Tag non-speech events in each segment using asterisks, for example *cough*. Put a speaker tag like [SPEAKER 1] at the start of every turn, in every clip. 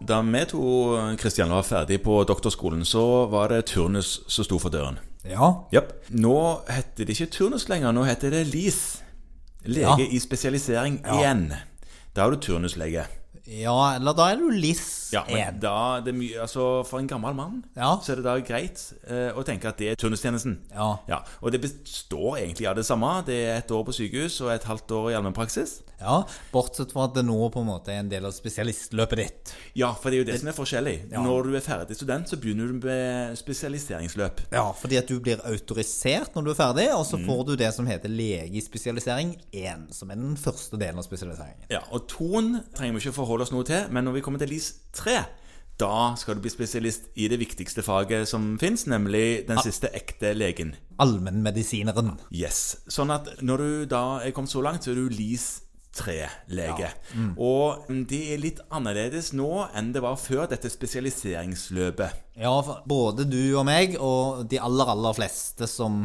[SPEAKER 1] Da vi to Kristian, var ferdig på doktorskolen, så var det turnus som sto for døren.
[SPEAKER 2] Ja.
[SPEAKER 1] Japp. Nå heter det ikke turnus lenger, nå heter det LIS. Lege
[SPEAKER 2] Ja.
[SPEAKER 1] i spesialisering igjen. Da er du turnuslege.
[SPEAKER 2] ja, eller da er du liss
[SPEAKER 1] Ja, men
[SPEAKER 2] 1.
[SPEAKER 1] da er det mye, altså For en gammel mann
[SPEAKER 2] Ja.
[SPEAKER 1] så er det da greit eh, å tenke at det er turnustjenesten.
[SPEAKER 2] Ja.
[SPEAKER 1] Og det består egentlig av det samme. Det er et år på sykehus og et halvt år i allmennpraksis.
[SPEAKER 2] Ja, bortsett fra at det nå på en måte er en del av spesialistløpet ditt.
[SPEAKER 1] Ja, for det er jo det som er forskjellig. Når du er ferdig student, så begynner du med spesialiseringsløp.
[SPEAKER 2] Ja, fordi at du blir autorisert når du er ferdig, og så får du det som heter lege i spesialisering 1, som er den første delen av spesialiseringen.
[SPEAKER 1] Ja, og toen trenger vi ikke forholde oss noe til, men når vi kommer til LIS 3, da skal du bli spesialist i det viktigste faget som fins, nemlig den siste ekte legen.
[SPEAKER 2] Allmennmedisineren.
[SPEAKER 1] Yes. Sånn at når du da er kommet så langt, så er du LIS 3-lege. Og mm, det er litt annerledes nå enn det var før dette spesialiseringsløpet.
[SPEAKER 2] Ja, for både du og meg, og de aller, aller fleste som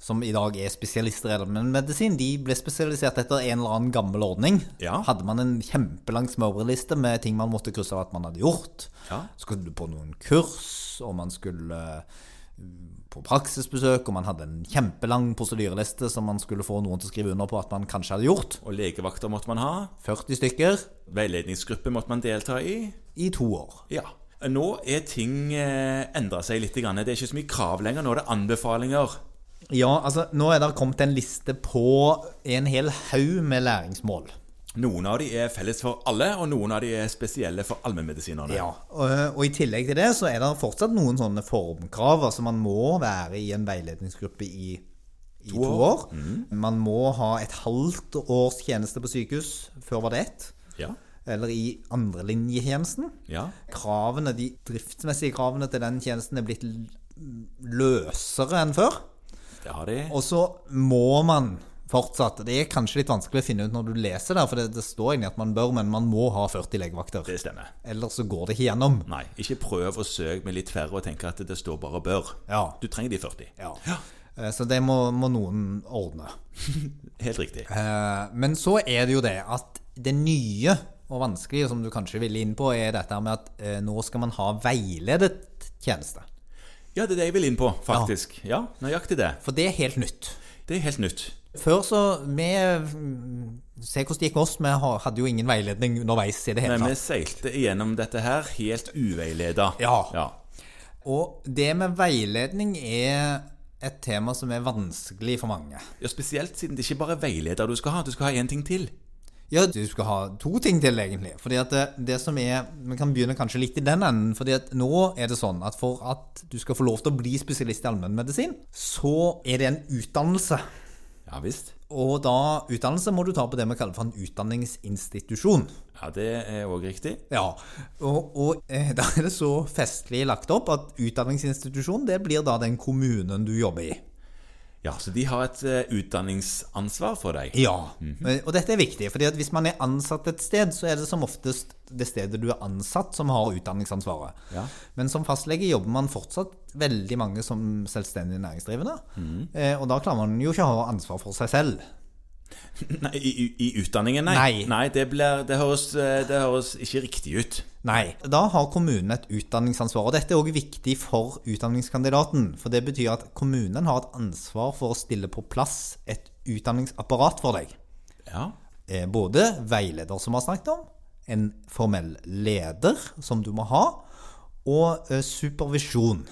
[SPEAKER 2] som i dag er spesialister i allmennmedisin, de ble spesialisert etter en eller annen gammel ordning.
[SPEAKER 1] Ja.
[SPEAKER 2] Hadde man en kjempelang smørbrødliste med ting man måtte krysse av at man hadde gjort,
[SPEAKER 1] Ja.
[SPEAKER 2] så skulle du på noen kurs, og man skulle mm, på praksisbesøk, og man hadde en kjempelang prosedyreliste som man skulle få noen til å skrive under på at man kanskje hadde gjort.
[SPEAKER 1] Og legevakter måtte man ha.
[SPEAKER 2] 40 stykker
[SPEAKER 1] Veiledningsgruppe måtte man delta i.
[SPEAKER 2] i to år.
[SPEAKER 1] Ja. Nå er ting eh, endra seg litt. Grann. Det er ikke så mye krav lenger. Nå er det anbefalinger.
[SPEAKER 2] Ja, altså, nå er det kommet en liste på en hel haug med læringsmål.
[SPEAKER 1] Noen av de er felles for alle, og noen av de er spesielle for allmennmedisinerne.
[SPEAKER 2] Ja, og, og i tillegg til det så er det fortsatt noen sånne formkrav. Altså man må være i en veiledningsgruppe i, i to
[SPEAKER 1] år.
[SPEAKER 2] år. Mm. Man må ha et halvt års tjeneste på sykehus. Før var det ett.
[SPEAKER 1] Ja.
[SPEAKER 2] Eller i andrelinjetjenesten.
[SPEAKER 1] Ja.
[SPEAKER 2] Kravene, de driftsmessige kravene til den tjenesten er blitt l- løsere enn før.
[SPEAKER 1] Det har de.
[SPEAKER 2] Og så må man fortsatt Det er kanskje litt vanskelig å finne ut når du leser der, for det, det står egentlig at man bør, men man må ha 40 legevakter.
[SPEAKER 1] Det stemmer.
[SPEAKER 2] Ellers så går det ikke gjennom.
[SPEAKER 1] Nei, ikke prøv å søke med litt færre og tenke at det står bare 'bør'.
[SPEAKER 2] Ja.
[SPEAKER 1] Du trenger de 40.
[SPEAKER 2] Ja. Eh, Så det må, må noen ordne.
[SPEAKER 1] Helt riktig.
[SPEAKER 2] Eh, Men så er det jo det at det nye og vanskelige som du kanskje ville inn på, er dette her med at eh, nå skal man ha veiledet tjeneste.
[SPEAKER 1] Ja, det er det jeg vil inn på, faktisk. Ja, nøyaktig det.
[SPEAKER 2] For det er helt nytt.
[SPEAKER 1] Det er helt nytt.
[SPEAKER 2] Før så Vi mm, Se hvordan det gikk med oss. Vi ha- hadde jo ingen veiledning underveis i det hele
[SPEAKER 1] Men vi
[SPEAKER 2] tatt.
[SPEAKER 1] seilte igjennom dette her helt uveileda.
[SPEAKER 2] Ja.
[SPEAKER 1] ja.
[SPEAKER 2] Og det med veiledning er et tema som er vanskelig for mange.
[SPEAKER 1] Ja, Spesielt siden det ikke bare er veileder du skal ha, du skal ha én ting til.
[SPEAKER 2] Ja, du skal ha to ting til, egentlig. Fordi at det, det som er Vi kan begynne kanskje litt i den enden. fordi at nå er det sånn at for at du skal få lov til å bli spesialist i allmennmedisin, så er det en utdannelse.
[SPEAKER 1] Ja visst.
[SPEAKER 2] Og da utdannelse må du ta på det vi kaller for en utdanningsinstitusjon.
[SPEAKER 1] Ja, det er òg riktig.
[SPEAKER 2] Ja, og, og eh, *laughs* da er det så festlig lagt opp at utdanningsinstitusjon det blir da den kommunen du jobber i.
[SPEAKER 1] Ja, Så de har et eh, utdanningsansvar for deg?
[SPEAKER 2] Ja, eh, og dette er viktig, fordi at hvis man er ansatt et sted, så er det som oftest det stedet du er ansatt som har utdanningsansvaret.
[SPEAKER 1] Ja.
[SPEAKER 2] Men som fastlege jobber man fortsatt veldig mange som selvstendig næringsdrivende, eh, og da klarer man jo ikke å ha ansvar for seg selv.
[SPEAKER 1] Nei, i, i- I utdanningen, nei.
[SPEAKER 2] Nei.
[SPEAKER 1] det, blir, det, høres, eh, det høres ikke riktig ut.
[SPEAKER 2] Nei, da har kommunen et utdanningsansvar, og dette er også viktig for utdanningskandidaten, for det betyr at kommunen har et ansvar for å stille på plass et utdanningsapparat for deg.
[SPEAKER 1] Ja,
[SPEAKER 2] eh, både veileder som vi har snakket om, en formell leder som du må ha, og eh, supervisjon.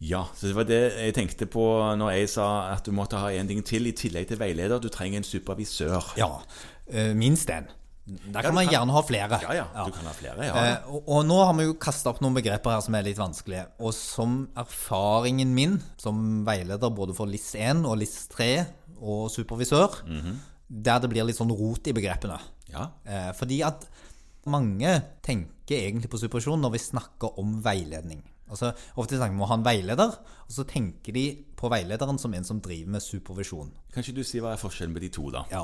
[SPEAKER 1] ja så det var det jeg tenkte på når jeg sa at du måtte ha en ting til i tillegg til veileder. Du trenger en supervisør.
[SPEAKER 2] Ja, eh, minst en. Der kan
[SPEAKER 1] du
[SPEAKER 2] man
[SPEAKER 1] kan-
[SPEAKER 2] gjerne ha flere.
[SPEAKER 1] ja, ja, du kan ha flere. ja.
[SPEAKER 2] Eh, og, og nå har vi jo kasta opp noen begreper her som er litt vanskelige. Og som erfaringen min som veileder både for LIS1 og LIS3 og supervisør,
[SPEAKER 1] Mhm.
[SPEAKER 2] der det blir litt sånn rot i begrepene.
[SPEAKER 1] Ja.
[SPEAKER 2] Eh, fordi at mange tenker egentlig på supervisjon når vi snakker om veiledning. Altså, ofte snakker vi om å ha en veileder, og så tenker de på veilederen som en som driver med supervisjon.
[SPEAKER 1] Kan ikke du si hva er forskjellen på de to, da?
[SPEAKER 2] Ja,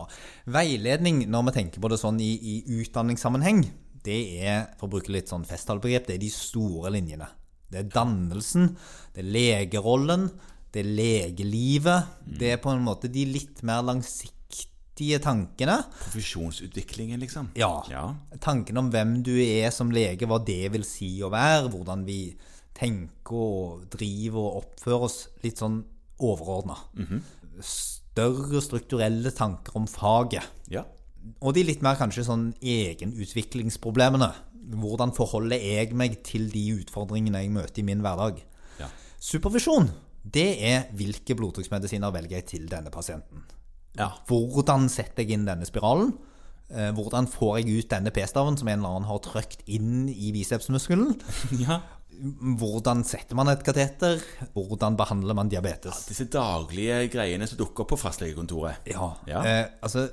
[SPEAKER 2] Veiledning, når vi tenker på det sånn i, i utdanningssammenheng, det er for å bruke litt sånn festtalebegrep, det er de store linjene. Det er dannelsen, det er legerollen, det er legelivet. Det er på en måte de litt mer langsiktige viktige tankene.
[SPEAKER 1] Profesjonsutviklingen, liksom.
[SPEAKER 2] Ja.
[SPEAKER 1] Ja.
[SPEAKER 2] Tanken om hvem du er som lege, hva det vil si å være, hvordan vi tenker og driver og oppfører oss litt sånn overordna. Større strukturelle tanker om faget.
[SPEAKER 1] ja.
[SPEAKER 2] Og de litt mer kanskje sånn egenutviklingsproblemene. Hvordan forholder jeg meg til de utfordringene jeg møter i min hverdag?
[SPEAKER 1] Ja.
[SPEAKER 2] Supervisjon, det er hvilke blodtrykksmedisiner velger jeg til denne pasienten. *laughs*
[SPEAKER 1] ja.
[SPEAKER 2] Hvordan setter jeg inn denne spiralen? Eh, Hvordan får jeg ut denne p-staven som en eller annen har trøkt inn i bicepsmuskelen?
[SPEAKER 1] ja.
[SPEAKER 2] Hvordan setter man et kateter? Hvordan behandler man diabetes?
[SPEAKER 1] Disse daglige greiene som dukker opp på fastlegekontoret.
[SPEAKER 2] Ja,
[SPEAKER 1] Ja.
[SPEAKER 2] Eh, altså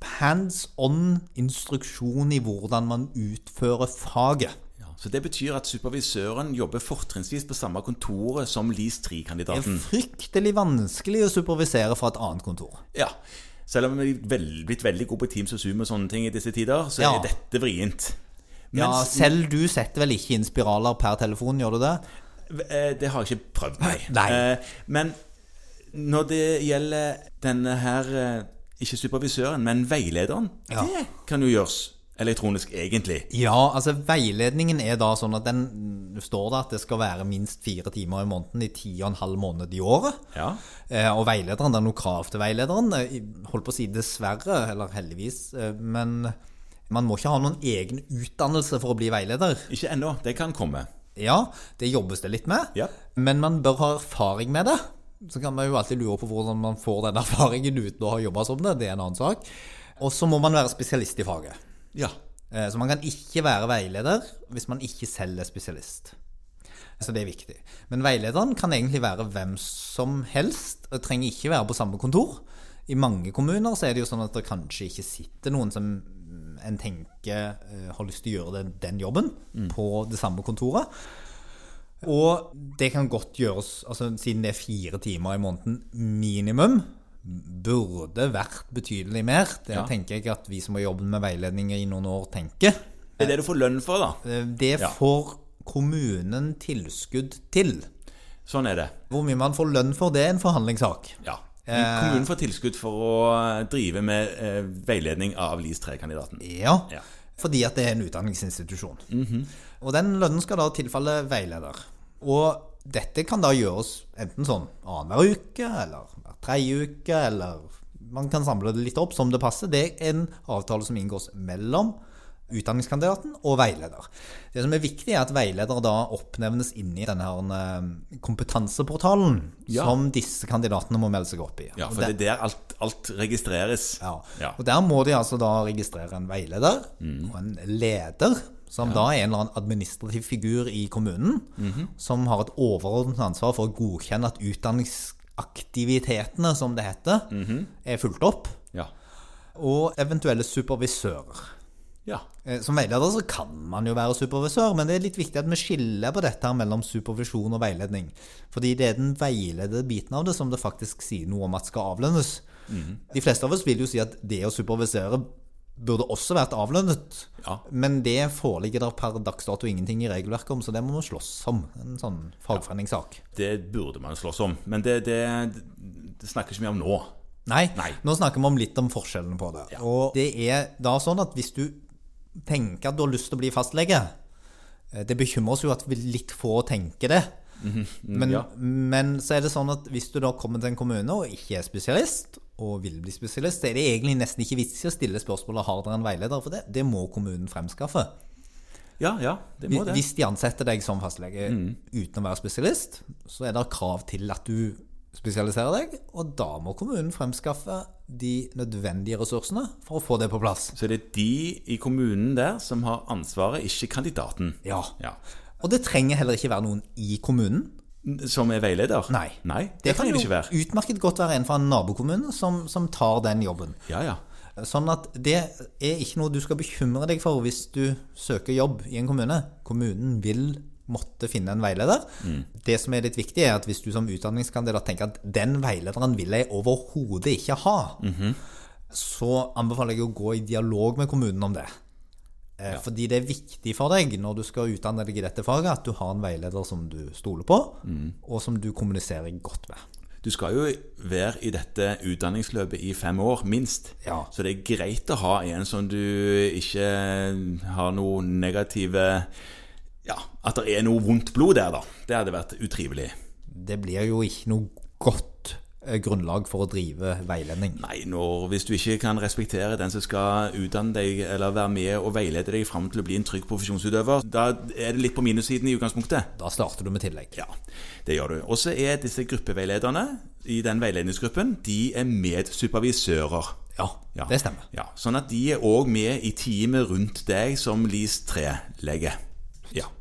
[SPEAKER 2] hands on instruksjon i hvordan man utfører faget.
[SPEAKER 1] Ja. Så det betyr at supervisøren jobber fortrinnsvis på samme kontoret som LIS
[SPEAKER 2] Det er
[SPEAKER 1] 3-kandidaten.
[SPEAKER 2] fryktelig vanskelig å supervisere fra et annet kontor.
[SPEAKER 1] Ja. Selv om vi er vel- blitt veldig gode på Teams og Zoom og sånne ting i disse tider, så
[SPEAKER 2] Ja.
[SPEAKER 1] er dette vrient.
[SPEAKER 2] Ja,
[SPEAKER 1] Mens-
[SPEAKER 2] selv du setter vel ikke inn spiraler per telefon, gjør du det?
[SPEAKER 1] Eh, Det har jeg ikke prøvd, nei.
[SPEAKER 2] Nei.
[SPEAKER 1] Eh, Men når det gjelder denne her eh, Ikke supervisøren, men veilederen.
[SPEAKER 2] Ja.
[SPEAKER 1] Det kan jo gjøres elektronisk, egentlig.
[SPEAKER 2] Ja, altså veiledningen er da sånn at den står det at det skal være minst fire timer i måneden i ti og en halv måned i året.
[SPEAKER 1] Ja.
[SPEAKER 2] Eh, Og veilederen, den lokalt til veilederen, eh, holdt på å si dessverre, eller heldigvis, eh, men man må ikke ha noen egen utdannelse for å bli veileder.
[SPEAKER 1] Ikke ennå. Det kan komme.
[SPEAKER 2] Ja, det jobbes det litt med,
[SPEAKER 1] Ja.
[SPEAKER 2] men man bør ha erfaring med det. Så kan man jo alltid lure på hvordan man får den erfaringen uten å ha jobba som det, det er en annen sak. Og så må man være spesialist i faget.
[SPEAKER 1] Ja.
[SPEAKER 2] Eh, Så man kan ikke være veileder hvis man ikke selv er spesialist. Så det er viktig. Men veilederen kan egentlig være hvem som helst, og trenger ikke være på samme kontor. I mange kommuner så er det jo sånn at det kanskje ikke sitter noen som mm, en tenker eh, har lyst til å gjøre den, den jobben på det samme kontoret. Og det kan godt gjøres, altså siden det er fire timer i måneden minimum, burde vært betydelig mer. Det
[SPEAKER 1] Ja.
[SPEAKER 2] tenker jeg at vi som har jobbet med veiledninger i noen år, tenker.
[SPEAKER 1] Det er det du får lønn for, da.
[SPEAKER 2] Eh, Det
[SPEAKER 1] Ja.
[SPEAKER 2] får kommunen tilskudd til.
[SPEAKER 1] Sånn er det.
[SPEAKER 2] Hvor mye man får lønn for, det er en forhandlingssak.
[SPEAKER 1] Ja.
[SPEAKER 2] Eh.
[SPEAKER 1] Kommunen får tilskudd for å drive med eh, veiledning av LIS 3-kandidaten.
[SPEAKER 2] Ja,
[SPEAKER 1] Ja. Mhm.
[SPEAKER 2] fordi at det er en utdanningsinstitusjon. Og den lønnen skal da tilfalle veileder. Og dette kan da gjøres enten sånn annenhver uke, eller hver tredje uke, eller man kan samle det litt opp som det passer. Det er en avtale som inngås mellom utdanningskandidaten og veileder. Det som er viktig, er at veileder da oppnevnes inni denne her eh, kompetanseportalen
[SPEAKER 1] Ja.
[SPEAKER 2] som disse kandidatene må melde seg opp i.
[SPEAKER 1] Ja,
[SPEAKER 2] Og
[SPEAKER 1] for det er der alt, alt registreres.
[SPEAKER 2] ja.
[SPEAKER 1] Ja.
[SPEAKER 2] Og der må de altså da registrere en veileder og en leder, som da er en eller annen administrativ figur i kommunen, som har et overordnet ansvar for å godkjenne at utdanningsaktivitetene, som det heter, er fulgt opp,
[SPEAKER 1] Ja.
[SPEAKER 2] og eventuelle supervisører.
[SPEAKER 1] ja.
[SPEAKER 2] Eh, Som veileder så kan man jo være supervisør, men det er litt viktig at vi skiller på dette her mellom supervisjon og veiledning. Fordi det er den veiledede biten av det som det faktisk sier noe om at skal avlønnes. De fleste av oss vil jo si at det å supervisere burde også vært avlønnet.
[SPEAKER 1] Ja.
[SPEAKER 2] Men det foreligger der per dags dato ingenting i regelverket om, så det må vi slåss om. En sånn fagforeningssak.
[SPEAKER 1] Det burde man slåss om, men det, det, det snakkes ikke vi om nå.
[SPEAKER 2] Nei,
[SPEAKER 1] Nei.
[SPEAKER 2] nå snakker vi om litt om forskjellene på det. Og det er da sånn at hvis du tenker at du har lyst til å bli fastlege eh, Det bekymrer oss jo at vi litt få tenker det. Men,
[SPEAKER 1] Mhm. Mm, ja.
[SPEAKER 2] men så er det sånn at hvis du da kommer til en kommune og ikke er spesialist, og vil bli spesialist, så er det egentlig nesten ikke vits i å stille spørsmålet har dere en veileder for det. Det må kommunen fremskaffe.
[SPEAKER 1] Ja, ja, det må det.
[SPEAKER 2] Hvis de ansetter deg som fastlege
[SPEAKER 1] Mm.
[SPEAKER 2] uten å være spesialist, så er det krav til at du spesialiserer deg, og da må kommunen fremskaffe de nødvendige ressursene for å få det på plass.
[SPEAKER 1] Så det er de i kommunen der som har ansvaret, ikke kandidaten.
[SPEAKER 2] Ja.
[SPEAKER 1] Ja.
[SPEAKER 2] Og det trenger heller ikke være noen i kommunen.
[SPEAKER 1] Som er veileder?
[SPEAKER 2] Nei.
[SPEAKER 1] Nei det, trenger det ikke være.
[SPEAKER 2] jo utmerket godt være en fra en nabokommune som, som tar den jobben.
[SPEAKER 1] Ja, ja.
[SPEAKER 2] Sånn at det er ikke noe du skal bekymre deg for hvis du søker jobb i en kommune. Kommunen vil måtte finne en veileder. Det som er litt viktig, er at hvis du som utdanningskandidat tenker at den veilederen vil jeg overhodet ikke ha, så anbefaler jeg å gå i dialog med kommunen om det. Eh, Fordi det er viktig for deg når du skal utdanne deg i dette faget, at du har en veileder som du stoler på, og som du kommuniserer godt med.
[SPEAKER 1] Du skal jo være i dette utdanningsløpet i fem år, minst.
[SPEAKER 2] Ja.
[SPEAKER 1] Så det er greit å ha en som du ikke har noe negative Ja, at det er noe vondt blod der, da. Det hadde vært utrivelig.
[SPEAKER 2] Det blir jo ikke noe godt eh, grunnlag for å drive veiledning.
[SPEAKER 1] Nei, når, hvis du ikke kan respektere den som skal utdanne deg eller være med og veilede deg fram til å bli en trygg profesjonsutøver, da er det litt på minussiden i utgangspunktet.
[SPEAKER 2] Da starter du med tillegg.
[SPEAKER 1] Ja, det gjør du. Og så er disse gruppeveilederne i den veiledningsgruppen, de er medsupervisører. Ja.
[SPEAKER 2] det stemmer.
[SPEAKER 1] Ja, sånn at de er òg med i teamet rundt deg som LIS3-lege. Ja.